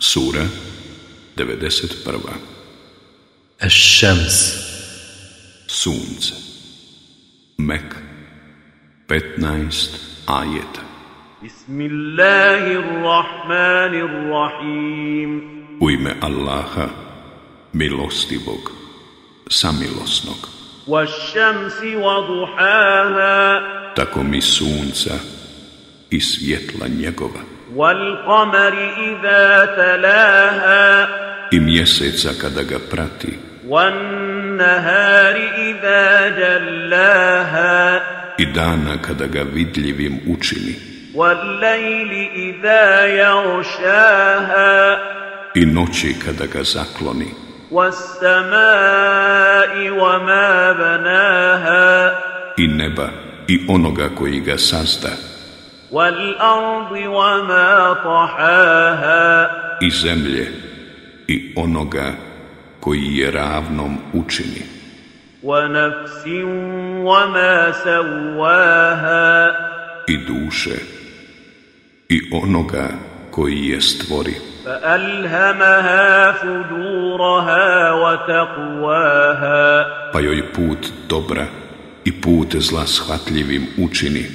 Sura 91. Eš-Šems, Sunce Mek 15 ajeta بسم الله الرحمن الرحيم U ime Allaha, milostivog, samilosnog والشمس وضحاها Tako mi sunca i svjetla njegova والقمر إذا تلاها I mjeseca kada ga prati والنهار إذا جلاها I dana kada ga vidljivim učini والليل إذا يغشاها I noći kada ga zakloni والسماء وما بناها I neba i onoga koji ga sazda والأرض وما طحاها i zemlje i onoga koji je ravnom učini ونفس وما سواها i duše i onoga koji je stvori فألهمها فجورها وتقواها pa joj put dobra i put zla shvatljivim učini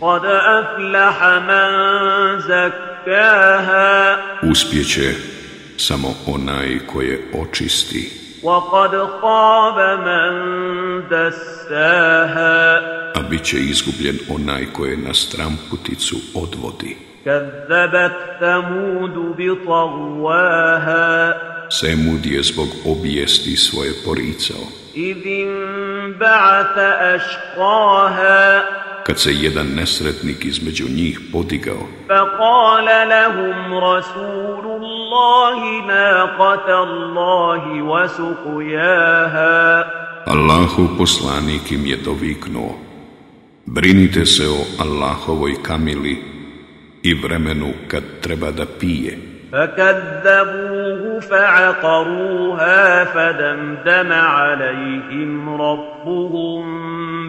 قد أفلح من زكاها uspjeće samo onaj koje očisti وقد خاب من دساها a bit će izgubljen onaj koje na stramputicu odvodi كذبت ثمود بطغواها Semud je zbog obijesti svoje poricao إذ انبعث أشقاها kad se jedan nesretnik između njih podigao فقال لهم رسول الله ناقة الله وسقياها Allahu poslanik im je doviknuo Brinite se o Allahovoj kamili i vremenu kad treba da pije فكذبوه فعقروها فدمدم عليهم ربهم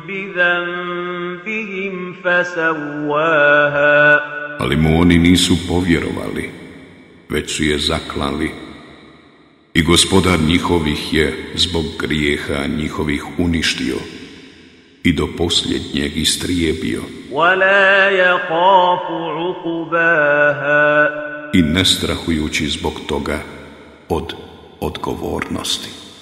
بذنبهم فسواها Ali mu oni nisu povjerovali Već su je zaklali I gospodar njihovih je zbog grijeha njihovih uništio I do posljednjeg istrijebio ولا يخاف عقباها I ne strahujući zbog toga od odgovornosti